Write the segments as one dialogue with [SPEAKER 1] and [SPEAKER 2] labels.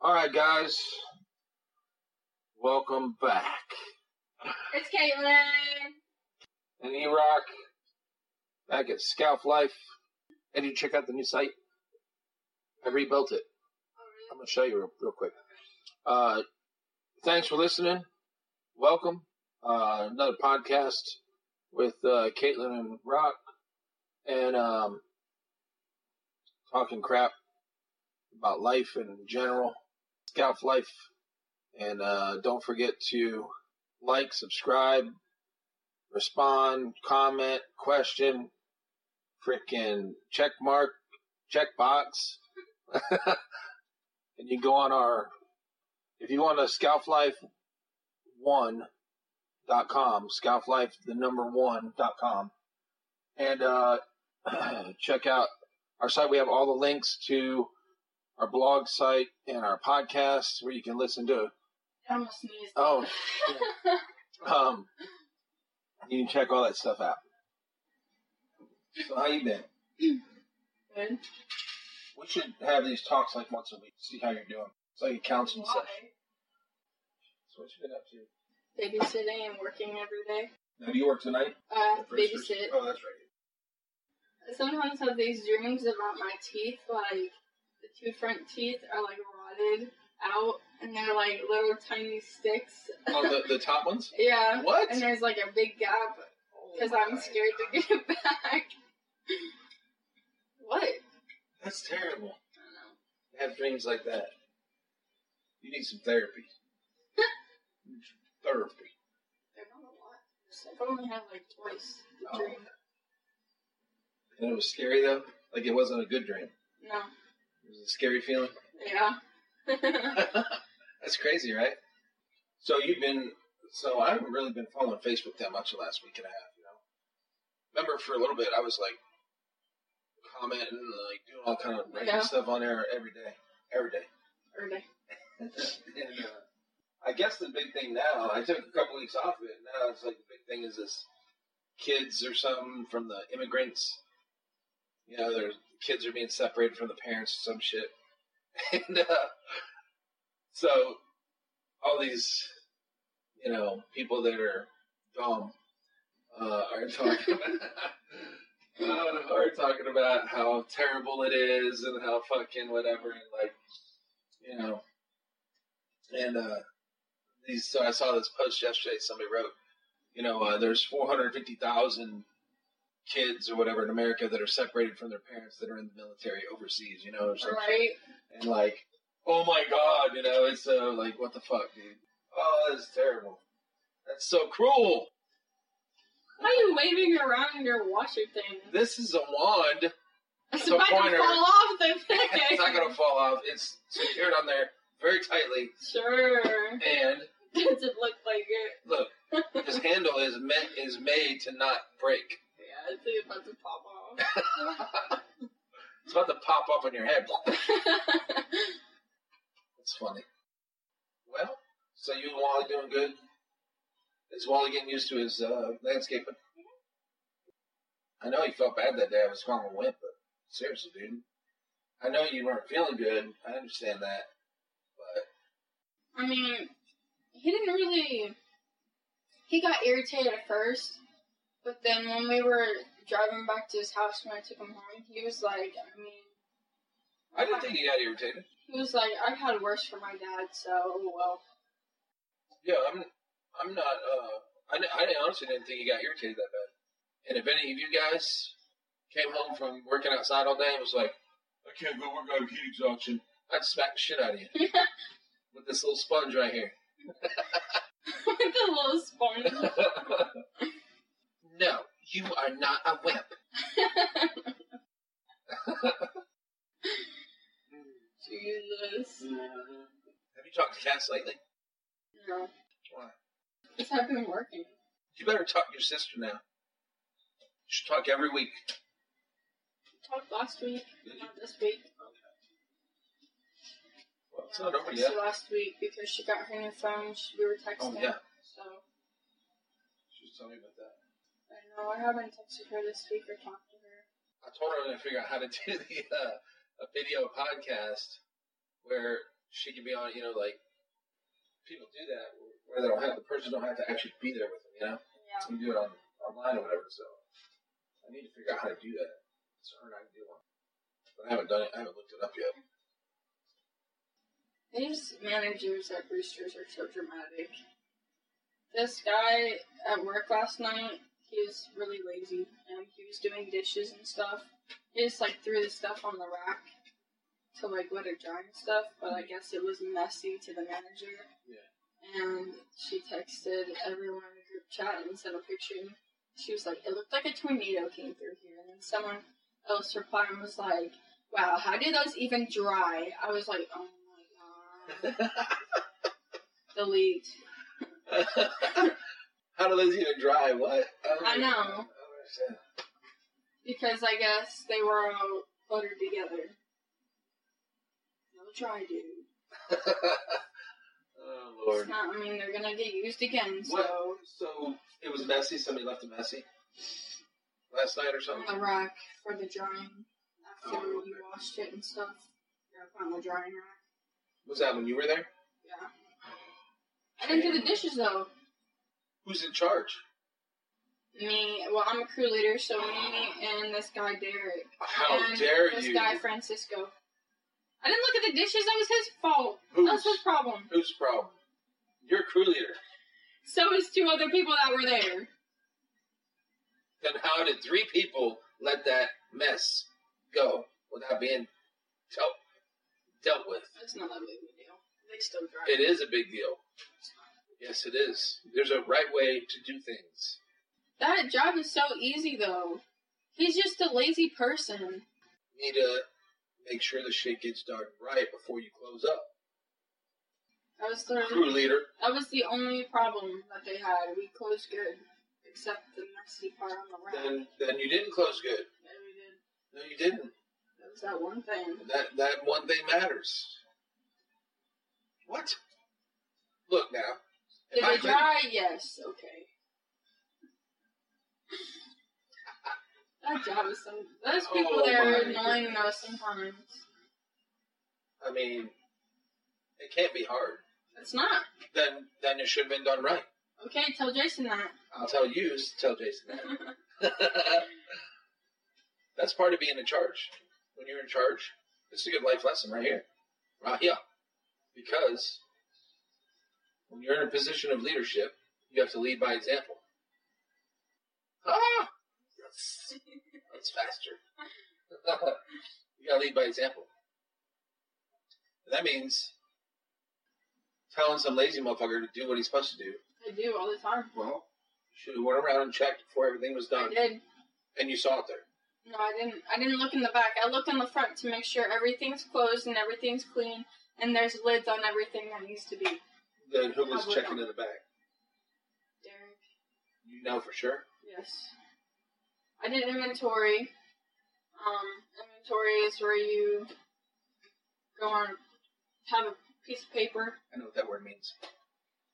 [SPEAKER 1] All right, guys. Welcome back.
[SPEAKER 2] It's Caitlin.
[SPEAKER 1] And E Rock, back at Scout Life. And you check out the new site? I rebuilt it. I'm going to show you real, real quick. Uh, thanks for listening. Welcome. Uh, another podcast with uh, Caitlin and Rock. And um, talking crap about life in general, Scout Life. And uh, don't forget to like, subscribe, respond, comment, question, freaking check mark, check box. and you go on our, if you want to scoutlife1.com, scoutlife, the number one dot com, and uh, check out our site. We have all the links to our blog site and our podcasts where you can listen to
[SPEAKER 2] I almost sneezed.
[SPEAKER 1] Oh, um, you can check all that stuff out. So how you been?
[SPEAKER 2] Good.
[SPEAKER 1] We should have these talks like once a week. See how you're doing. It's like a counseling
[SPEAKER 2] Why?
[SPEAKER 1] session. So what you been up to?
[SPEAKER 2] Babysitting and working every day.
[SPEAKER 1] Now, do you work tonight?
[SPEAKER 2] Uh,
[SPEAKER 1] At first or-
[SPEAKER 2] babysit.
[SPEAKER 1] Oh, that's right.
[SPEAKER 2] I sometimes have these dreams about my teeth, like the two front teeth are like rotted out, and they're like little tiny sticks.
[SPEAKER 1] Oh, the, the top ones.
[SPEAKER 2] yeah.
[SPEAKER 1] What?
[SPEAKER 2] And there's like a big gap because
[SPEAKER 1] Oh,
[SPEAKER 2] I'm
[SPEAKER 1] my
[SPEAKER 2] scared
[SPEAKER 1] God.
[SPEAKER 2] to get it back. what?
[SPEAKER 1] That's terrible.
[SPEAKER 2] I don't know.
[SPEAKER 1] To have dreams like that. You need some therapy. You need some therapy.
[SPEAKER 2] They're not a lot. So I've only had like twice the
[SPEAKER 1] Oh.
[SPEAKER 2] dream.
[SPEAKER 1] And it was scary though. Like it wasn't a good dream.
[SPEAKER 2] No.
[SPEAKER 1] It was a scary feeling.
[SPEAKER 2] Yeah.
[SPEAKER 1] That's crazy, right? So you've been so I haven't really been following Facebook that much the last week and a half, you know. Remember for a little bit I was like commenting, like doing all kind of random
[SPEAKER 2] Yeah.
[SPEAKER 1] stuff on there every day. Every day.
[SPEAKER 2] Or they-
[SPEAKER 1] and uh, I guess the big thing now, I took a couple weeks off of it. Now it's like the big thing is this kids or something from the immigrants. You know, their kids are being separated from the parents or some shit. And uh, so all these, you know, people that are dumb uh, are talking about. Uh, are talking about how terrible it is and how fucking whatever and like you know and uh, these, so I saw this post yesterday. Somebody wrote, you know, uh, there's 450,000 kids or whatever in America that are separated from their parents that are in the military overseas, you know, or something.
[SPEAKER 2] Right?
[SPEAKER 1] And like, oh my god, you know, it's so like, what the fuck, dude? Oh, that's terrible. That's so cruel.
[SPEAKER 2] Why are you waving around your washer thing?
[SPEAKER 1] This is a wand.
[SPEAKER 2] It's
[SPEAKER 1] a
[SPEAKER 2] about
[SPEAKER 1] pointer.
[SPEAKER 2] to fall off the thing.
[SPEAKER 1] it's not gonna fall off. It's secured on there very tightly.
[SPEAKER 2] Sure.
[SPEAKER 1] And
[SPEAKER 2] Does it look like it?
[SPEAKER 1] look, this handle is meant is made to not break.
[SPEAKER 2] Yeah, it's about to pop off.
[SPEAKER 1] It's about to pop up on your head. That's funny. Well, so you and Wally doing good? Is Wally getting used to his uh, landscaping? I know he felt bad that day I was calling him wimp, but seriously, dude. I know you weren't feeling good. I understand that. But
[SPEAKER 2] I mean, he didn't really. He got irritated at first, but then when we were driving back to his house when I took him home, he was like, I mean,
[SPEAKER 1] I didn't think he got irritated.
[SPEAKER 2] he was like, I've had worse for my dad, so oh well.
[SPEAKER 1] Yeah, I'm. I'm not. Uh, I, di- I didn't- honestly didn't think he got irritated that bad. And if any of you guys came home from working outside all day and was like, "I can't go work out of heat exhaustion," I'd smack the shit out of you with this little sponge right here.
[SPEAKER 2] With the little sponge.
[SPEAKER 1] no, you are not a wimp.
[SPEAKER 2] Jesus.
[SPEAKER 1] Have you talked to Cass lately?
[SPEAKER 2] No.
[SPEAKER 1] Why?
[SPEAKER 2] It's not been working.
[SPEAKER 1] You better talk to your sister now. You should talk every week.
[SPEAKER 2] Talked last week,
[SPEAKER 1] Did you?
[SPEAKER 2] not this week.
[SPEAKER 1] Well, Oh, it's not over
[SPEAKER 2] Texted
[SPEAKER 1] yet.
[SPEAKER 2] Last week because she got her new phone. She, we were
[SPEAKER 1] Oh
[SPEAKER 2] texting.
[SPEAKER 1] yeah,
[SPEAKER 2] So
[SPEAKER 1] she was telling me about that.
[SPEAKER 2] I know I haven't texted her this week or talked to her.
[SPEAKER 1] I told her I was gonna figure out how to do the uh, a video podcast where she could be on, you know, like people do that where they don't have the person don't have to actually be there with them, you know?
[SPEAKER 2] Yeah.
[SPEAKER 1] You can do it on online or whatever, so I need to figure out how to do that. So I can do one. But I haven't done it, I haven't looked it up yet.
[SPEAKER 2] These managers at Brewster's are so dramatic. This guy at work last night, he was really lazy and he was doing dishes and stuff. He just like threw the stuff on the rack to like let it dry and stuff, but I guess it was messy to the manager.
[SPEAKER 1] Yeah.
[SPEAKER 2] And she texted everyone in the group chat and sent a picture. She was like, It looked like a tornado came through here. And then someone else replied and was like, Wow, how do those even dry? I was like, Oh my god. Delete.
[SPEAKER 1] how do those even dry? What? don't
[SPEAKER 2] I
[SPEAKER 1] even-
[SPEAKER 2] know.
[SPEAKER 1] I don't understand.
[SPEAKER 2] Because I guess they were all buttered together. No dry, dude.
[SPEAKER 1] oh Lord.
[SPEAKER 2] It's not, I mean, they're gonna get used again, so.
[SPEAKER 1] What? So it was messy. Somebody left it messy last night or
[SPEAKER 2] On
[SPEAKER 1] something.
[SPEAKER 2] the rack for the drying. After
[SPEAKER 1] Oh,
[SPEAKER 2] you washed it and stuff. Yeah, on the drying rack.
[SPEAKER 1] Was that when you were there?
[SPEAKER 2] Yeah. I didn't do the dishes though.
[SPEAKER 1] Who's in charge?
[SPEAKER 2] Me, well, I'm a crew leader, so me and this guy Derek.
[SPEAKER 1] How
[SPEAKER 2] and
[SPEAKER 1] dare
[SPEAKER 2] this
[SPEAKER 1] you?
[SPEAKER 2] guy Francisco. I didn't look at the dishes, that was his fault. That
[SPEAKER 1] Who's
[SPEAKER 2] was his problem.
[SPEAKER 1] whose problem? You're a crew leader.
[SPEAKER 2] So is two other people that were there.
[SPEAKER 1] Then how did three people let that mess go without being dealt dealt with?
[SPEAKER 2] It's not that big of a deal. They still drive.
[SPEAKER 1] It is a big deal. Yes, it is. There's a right way to do things.
[SPEAKER 2] That job is so easy though. He's just a lazy person.
[SPEAKER 1] You need to make sure the shit gets done right before you close up.
[SPEAKER 2] That was the
[SPEAKER 1] Crew leader.
[SPEAKER 2] that was the only problem that they had. We closed good, except the messy part on the rack.
[SPEAKER 1] Then then you didn't close good.
[SPEAKER 2] Yeah, we did.
[SPEAKER 1] No, you didn't.
[SPEAKER 2] That was that one thing.
[SPEAKER 1] That that one thing matters. What? Look now.
[SPEAKER 2] Did
[SPEAKER 1] If I
[SPEAKER 2] it
[SPEAKER 1] clean-
[SPEAKER 2] dry? Yes. Okay. That job is some. Those people
[SPEAKER 1] Oh
[SPEAKER 2] there are
[SPEAKER 1] my
[SPEAKER 2] annoying though
[SPEAKER 1] goodness.
[SPEAKER 2] sometimes.
[SPEAKER 1] I mean, it can't be hard.
[SPEAKER 2] It's not
[SPEAKER 1] Then then it should have been done right.
[SPEAKER 2] okay. Tell Jason that.
[SPEAKER 1] I'll tell you. s- Tell Jason that. That's part of being in charge. When you're in charge, this is a good life lesson right here, right here, because when you're in a position of leadership, you have to lead by example. Ah, that's, that's faster. you gotta lead by example. And that means telling some lazy motherfucker to do what he's supposed to do
[SPEAKER 2] I do all the time.
[SPEAKER 1] well, you should have went around and checked before everything was
[SPEAKER 2] I
[SPEAKER 1] done,
[SPEAKER 2] did.
[SPEAKER 1] and you saw it there.
[SPEAKER 2] No, I didn't. I didn't look in the back. I looked in the front to make sure everything's closed and everything's clean, and there's lids on everything that needs to be.
[SPEAKER 1] Then who was
[SPEAKER 2] Probably
[SPEAKER 1] checking
[SPEAKER 2] not.
[SPEAKER 1] in the back?
[SPEAKER 2] Derek.
[SPEAKER 1] You know for sure.
[SPEAKER 2] Yes. I did inventory. Um, inventory is where you go on, have a piece of paper.
[SPEAKER 1] I know what that word means.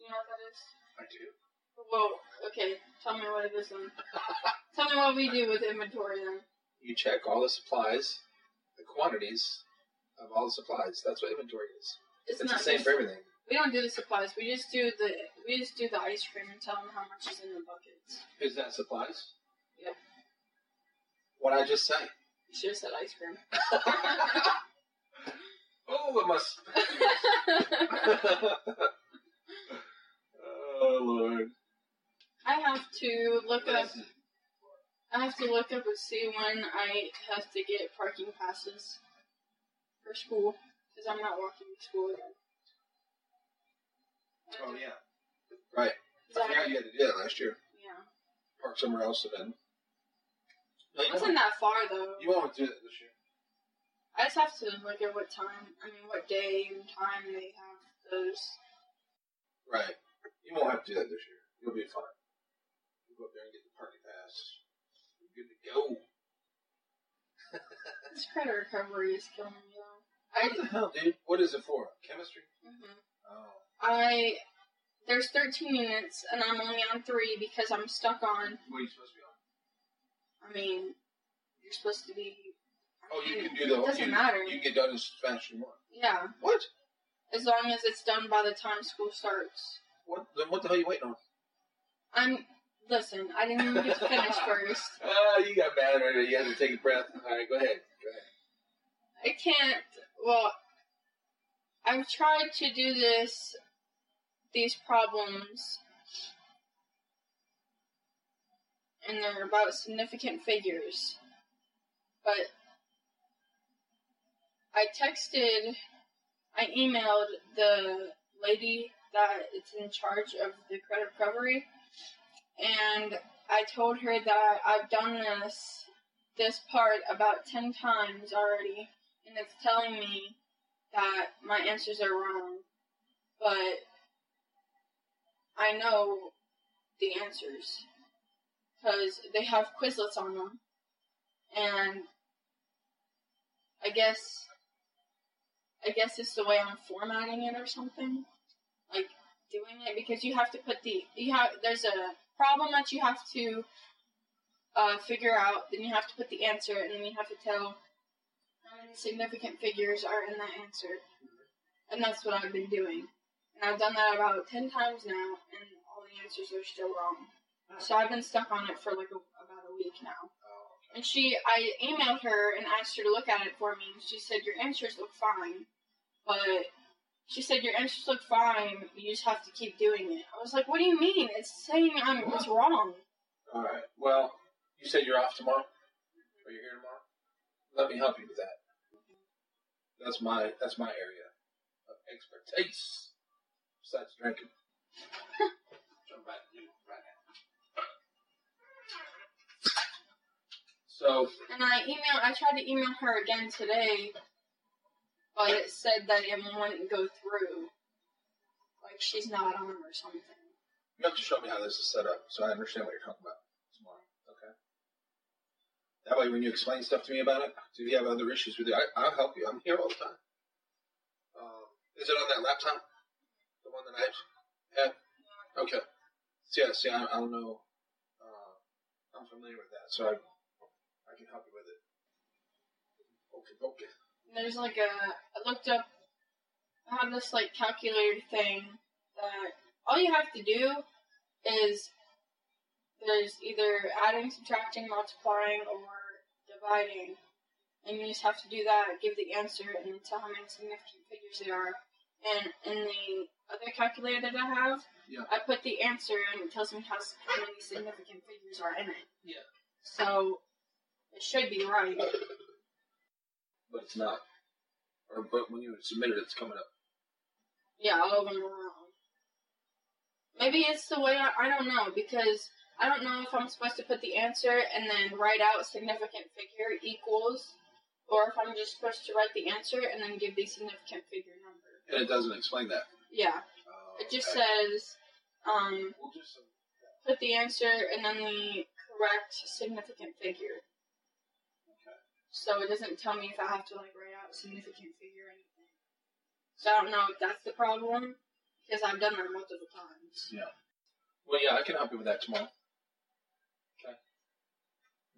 [SPEAKER 2] You know what that is?
[SPEAKER 1] I do.
[SPEAKER 2] Well, okay. Tell me what it is. Then. tell me what we do with inventory then.
[SPEAKER 1] You check all the supplies, the quantities of all the supplies. That's what inventory is.
[SPEAKER 2] It's,
[SPEAKER 1] It's,
[SPEAKER 2] not
[SPEAKER 1] the same
[SPEAKER 2] just-
[SPEAKER 1] for everything.
[SPEAKER 2] We don't do the supplies. We just do the we just do the ice cream and tell them how much is in the buckets.
[SPEAKER 1] Is that supplies?
[SPEAKER 2] Yeah.
[SPEAKER 1] What I just say.
[SPEAKER 2] You should have said ice cream.
[SPEAKER 1] oh, it must. oh Lord.
[SPEAKER 2] I have to look up.
[SPEAKER 1] That's-
[SPEAKER 2] I have to look up and see when I have to get parking passes for school because I'm not walking to school again.
[SPEAKER 1] Oh yeah. Right. I
[SPEAKER 2] So,
[SPEAKER 1] forgot you had to do that last year.
[SPEAKER 2] yeah.
[SPEAKER 1] Park somewhere else and then. No, you won't.
[SPEAKER 2] It wasn't that far though.
[SPEAKER 1] You won't do that this year.
[SPEAKER 2] I just have to look at what time. I mean, what day and time they have those.
[SPEAKER 1] Right. You won't have to do that this year. You'll be fine. You go up there and get the party pass. You're good to go.
[SPEAKER 2] This credit recovery is killing me though. I
[SPEAKER 1] What the hell, dude? What is it for? Chemistry?
[SPEAKER 2] mhm.
[SPEAKER 1] Oh.
[SPEAKER 2] I there's 13 units and I'm only on three because I'm stuck on.
[SPEAKER 1] What are you supposed to be on?
[SPEAKER 2] I mean, you're supposed to be.
[SPEAKER 1] Oh, you can do the
[SPEAKER 2] It doesn't
[SPEAKER 1] you,
[SPEAKER 2] matter.
[SPEAKER 1] You can get done as fast as you want.
[SPEAKER 2] Yeah,
[SPEAKER 1] What?
[SPEAKER 2] as long as it's done by the time school starts.
[SPEAKER 1] What, then what the hell are you waiting on?
[SPEAKER 2] I'm listen. I didn't even get to finish first.
[SPEAKER 1] Ah, you got mad already. You had to take a breath. All right, go ahead. Go ahead.
[SPEAKER 2] I can't. Well, I've tried to do this, these problems, and they're about significant figures. But I texted, I emailed the lady that is in charge of the credit recovery, and I told her that I've done this this part about ten times already, and it's telling me that my answers are wrong, but I know the answers because they have Quizlets on them, and I guess I guess it's the way I'm formatting it or something, like doing it because you have to put the you have there's a problem that you have to uh, figure out, then you have to put the answer, and then you have to tell how many significant figures are in that answer. And that's what I've been doing. And I've done that about 10 times now, and all the answers are still wrong. So I've been stuck on it for like a, about a week now.
[SPEAKER 1] Oh.
[SPEAKER 2] And she, I emailed her and asked her to look at it for me, and she said, Your answers look fine. But she said, Your answers look fine, you just have to keep doing it. I was like, What do you mean? It's saying I'm, it's wrong.
[SPEAKER 1] All right. Well, you said you're off tomorrow, or you're here tomorrow. Let me help you with that. That's my that's my area of expertise. Besides drinking. Jump back to you right now. So
[SPEAKER 2] And I email I tried to email her again today, but it said that it wouldn't go through. Like she's not on or something.
[SPEAKER 1] you have to show me how this is set up, so I understand what you're talking about tomorrow. Okay. That way, when you explain stuff to me about it, if you have other issues with it, I, I'll help you. I'm here all the time. Um, is it on that laptop? The one that I have? Okay. So, yeah, see, I, I don't know. Uh, I'm familiar with that, so I, I can help you with it. Okay, okay.
[SPEAKER 2] And there's like a I looked up I have this like calculator thing that all you have to do is there's either adding, subtracting, multiplying, or dividing. And you just have to do that, give the answer, and tell how many significant figures there are. And in the other calculator that I have,
[SPEAKER 1] Yeah.
[SPEAKER 2] I put the answer and it tells me how, s- how many significant figures are in it.
[SPEAKER 1] Yeah.
[SPEAKER 2] So it should be right.
[SPEAKER 1] But it's not. Or, but when you submit it, it's coming up.
[SPEAKER 2] Yeah, all of them are wrong. Maybe it's the way I, I don't know because I don't know if I'm supposed to put the answer and then write out significant figure equals, or if I'm just supposed to write the answer and then give the significant figure number.
[SPEAKER 1] And it doesn't explain that.
[SPEAKER 2] Yeah,
[SPEAKER 1] Uh,
[SPEAKER 2] it just
[SPEAKER 1] okay.
[SPEAKER 2] says um,
[SPEAKER 1] We'll do some
[SPEAKER 2] put the answer and then the correct significant figure.
[SPEAKER 1] Okay.
[SPEAKER 2] So it doesn't tell me if I have to like write out significant figure or anything. So I don't know if that's the problem because I've done that multiple times.
[SPEAKER 1] Well, yeah, I can help you with that tomorrow. Okay.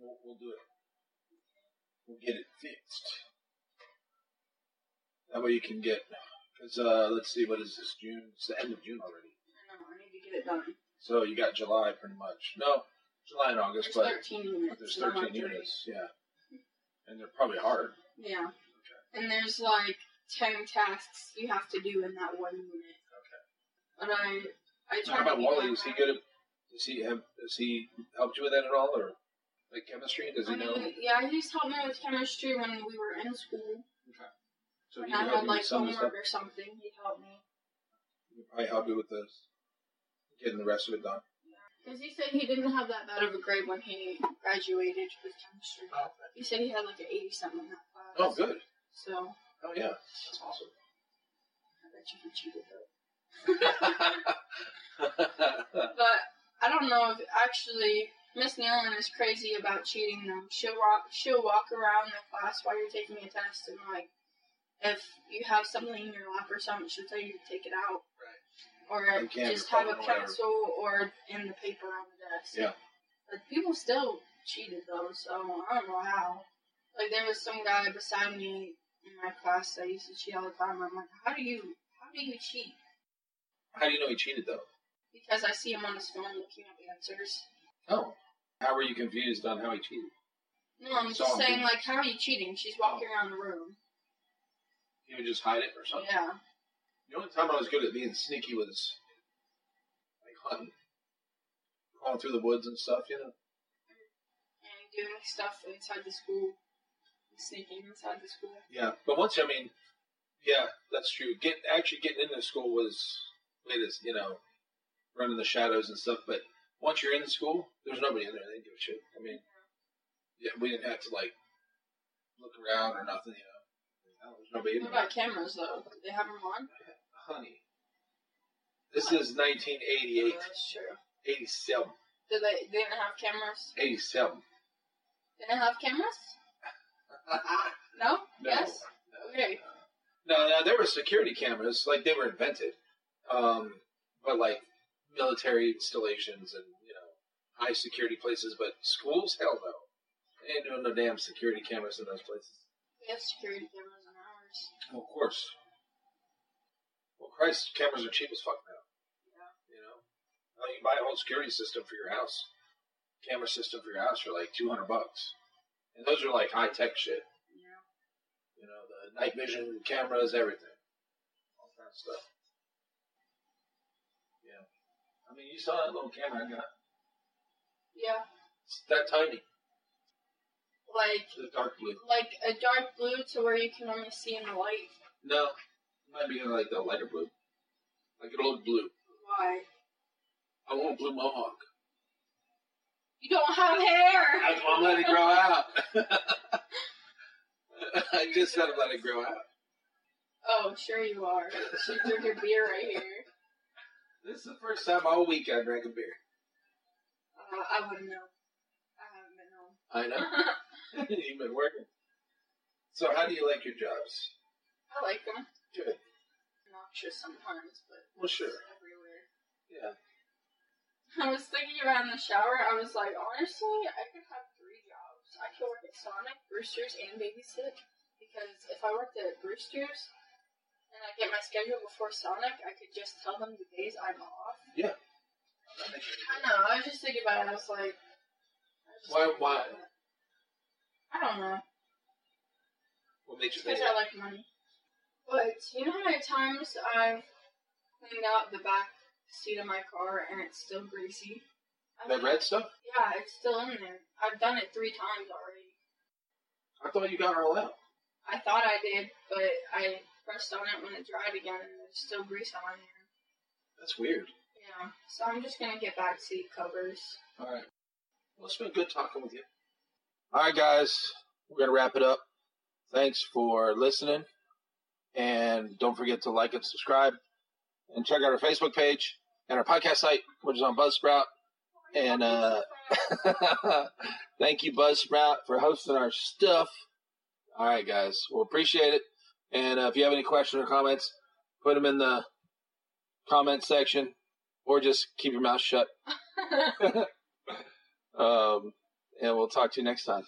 [SPEAKER 1] We'll, we'll do it. We'll get it fixed. That way you can get, because uh, let's see, what is this, June? It's the end of June already.
[SPEAKER 2] I know, I need to get it done.
[SPEAKER 1] So you got July pretty much. No, July and August,
[SPEAKER 2] There's
[SPEAKER 1] but
[SPEAKER 2] 13 units.
[SPEAKER 1] there's
[SPEAKER 2] and I'm
[SPEAKER 1] 13
[SPEAKER 2] on three.
[SPEAKER 1] units, yeah. And they're probably hard.
[SPEAKER 2] Yeah. And there's like 10 tasks you have to do in that one unit. But I, I
[SPEAKER 1] How
[SPEAKER 2] tried
[SPEAKER 1] about
[SPEAKER 2] to be
[SPEAKER 1] Wally?
[SPEAKER 2] like
[SPEAKER 1] Is he
[SPEAKER 2] that.
[SPEAKER 1] good at, does he have, has he helped you with that at all, or like chemistry? Does he
[SPEAKER 2] I
[SPEAKER 1] know?
[SPEAKER 2] mean, yeah, he just helped me with chemistry when we were in school.
[SPEAKER 1] So he can help
[SPEAKER 2] when I had
[SPEAKER 1] you with
[SPEAKER 2] like
[SPEAKER 1] some of the stuff?
[SPEAKER 2] homework or something, he helped me.
[SPEAKER 1] He can probably help you with this, getting the rest of it done.
[SPEAKER 2] Because he said he didn't have that bad of a grade when he graduated with chemistry. He said he had like an 80 something in that class.
[SPEAKER 1] Oh, good.
[SPEAKER 2] So, I
[SPEAKER 1] Oh, yeah. That's awesome.
[SPEAKER 2] bet you he cheated though. But I don't know if actually Miss Nealon is crazy about cheating them. She'll walk she'll walk around the class while you're taking a test and like if you have something in your lap or something, she'll tell you to take it out.
[SPEAKER 1] Right.
[SPEAKER 2] Or
[SPEAKER 1] You can't
[SPEAKER 2] just have a
[SPEAKER 1] record or
[SPEAKER 2] pencil or in the paper on the desk.
[SPEAKER 1] Yeah.
[SPEAKER 2] But people still cheated though, so I don't know how. Like there was some guy beside me in my class that used to cheat all the time. I'm like, how do you how me who cheat
[SPEAKER 1] How do you know he cheated though?
[SPEAKER 2] because I see him on his phone looking up answers.
[SPEAKER 1] Oh. How were you confused on how he cheated?
[SPEAKER 2] No, I'm
[SPEAKER 1] Saw
[SPEAKER 2] just
[SPEAKER 1] him.
[SPEAKER 2] saying, like, how are you cheating? She's walking around the room.
[SPEAKER 1] He would just hide it or something.
[SPEAKER 2] Yeah.
[SPEAKER 1] The only time I was good at being sneaky was like hunting, crawling through the woods and stuff. You know.
[SPEAKER 2] And doing stuff inside the school. Sneaking inside the school.
[SPEAKER 1] Yeah, but once I mean, yeah, that's true. Get actually getting into school was latest, you know, running the shadows and stuff. But once you're in the school, there's nobody in there. They didn't give a shit. I mean, yeah, we didn't have to like look around or nothing. You know, No, there's nobody in
[SPEAKER 2] What
[SPEAKER 1] there.
[SPEAKER 2] about cameras, though? Did they have them on?
[SPEAKER 1] Honey, this is 1988,
[SPEAKER 2] Yeah, that's true.
[SPEAKER 1] 87,
[SPEAKER 2] Did they, they didn't have cameras?
[SPEAKER 1] 87.
[SPEAKER 2] They didn't have cameras? No?
[SPEAKER 1] No.
[SPEAKER 2] Yes?
[SPEAKER 1] No.
[SPEAKER 2] Okay.
[SPEAKER 1] No, no, there were security cameras, like they were invented, um, but like military installations and you know high security places. But schools, hell no, they ain't doing no damn security cameras in those places.
[SPEAKER 2] We have security cameras in ours.
[SPEAKER 1] Well, of course. Well, Christ, cameras are cheap as fuck now.
[SPEAKER 2] Yeah.
[SPEAKER 1] You know, Well, you buy a whole security system for your house, camera system for your house for like two hundred bucks, and those are like high tech shit.
[SPEAKER 2] Yeah.
[SPEAKER 1] You know, the night vision cameras, everything. All that stuff. Yeah. I mean, you saw that little camera I got.
[SPEAKER 2] Yeah.
[SPEAKER 1] It's that tiny.
[SPEAKER 2] Like,
[SPEAKER 1] The dark blue.
[SPEAKER 2] like a dark blue to where you can only see in the light.
[SPEAKER 1] No. It might be like the lighter blue. Like an old blue.
[SPEAKER 2] Why?
[SPEAKER 1] I want a blue mohawk.
[SPEAKER 2] You don't have hair!
[SPEAKER 1] I, I'm letting it grow out. I just said I'm letting it grow out.
[SPEAKER 2] Oh, sure you are. You should drink your beer right here.
[SPEAKER 1] This is the first time all week I drank a beer.
[SPEAKER 2] Uh, I wouldn't know. I haven't been home.
[SPEAKER 1] I know.
[SPEAKER 2] I
[SPEAKER 1] You've been working. So, how do you like your jobs?
[SPEAKER 2] like them.
[SPEAKER 1] Good.
[SPEAKER 2] Noxious sometimes, but
[SPEAKER 1] Well, sure.
[SPEAKER 2] it's everywhere.
[SPEAKER 1] Yeah.
[SPEAKER 2] I was thinking about in the shower. I was like, honestly, I could have three jobs. I could work at Sonic, Brewster's, and babysit. Because if I worked at Brewster's and I get my schedule before Sonic, I could just tell them the days I'm off.
[SPEAKER 1] I think you're-
[SPEAKER 2] I know. I was just thinking about it. I was like, I was just
[SPEAKER 1] Why-
[SPEAKER 2] thinking
[SPEAKER 1] why?
[SPEAKER 2] about it. I don't know.
[SPEAKER 1] What made you think
[SPEAKER 2] Because
[SPEAKER 1] that?
[SPEAKER 2] I like money. But you know how many times I've cleaned out the back seat of my car and it's still greasy? I
[SPEAKER 1] That
[SPEAKER 2] think-
[SPEAKER 1] red stuff?
[SPEAKER 2] Yeah, it's still in there. I've done it three times already.
[SPEAKER 1] I thought you got her all out.
[SPEAKER 2] I thought I did, but I pressed on it when it dried again and there's still grease on there.
[SPEAKER 1] That's weird.
[SPEAKER 2] Yeah, so I'm just gonna get back seat covers.
[SPEAKER 1] All right. Well, it's been good talking with you. All right, guys. We're going to wrap it up. Thanks for listening. And don't forget to like and subscribe. And check out our Facebook page and our podcast site, which is on Buzzsprout. And, uh, Thank you, Buzzsprout, for hosting our stuff. All right, guys. We'll appreciate it. And uh, if you have any questions or comments, put them in the comment section or just keep your mouth shut. um, and we'll talk to you next time.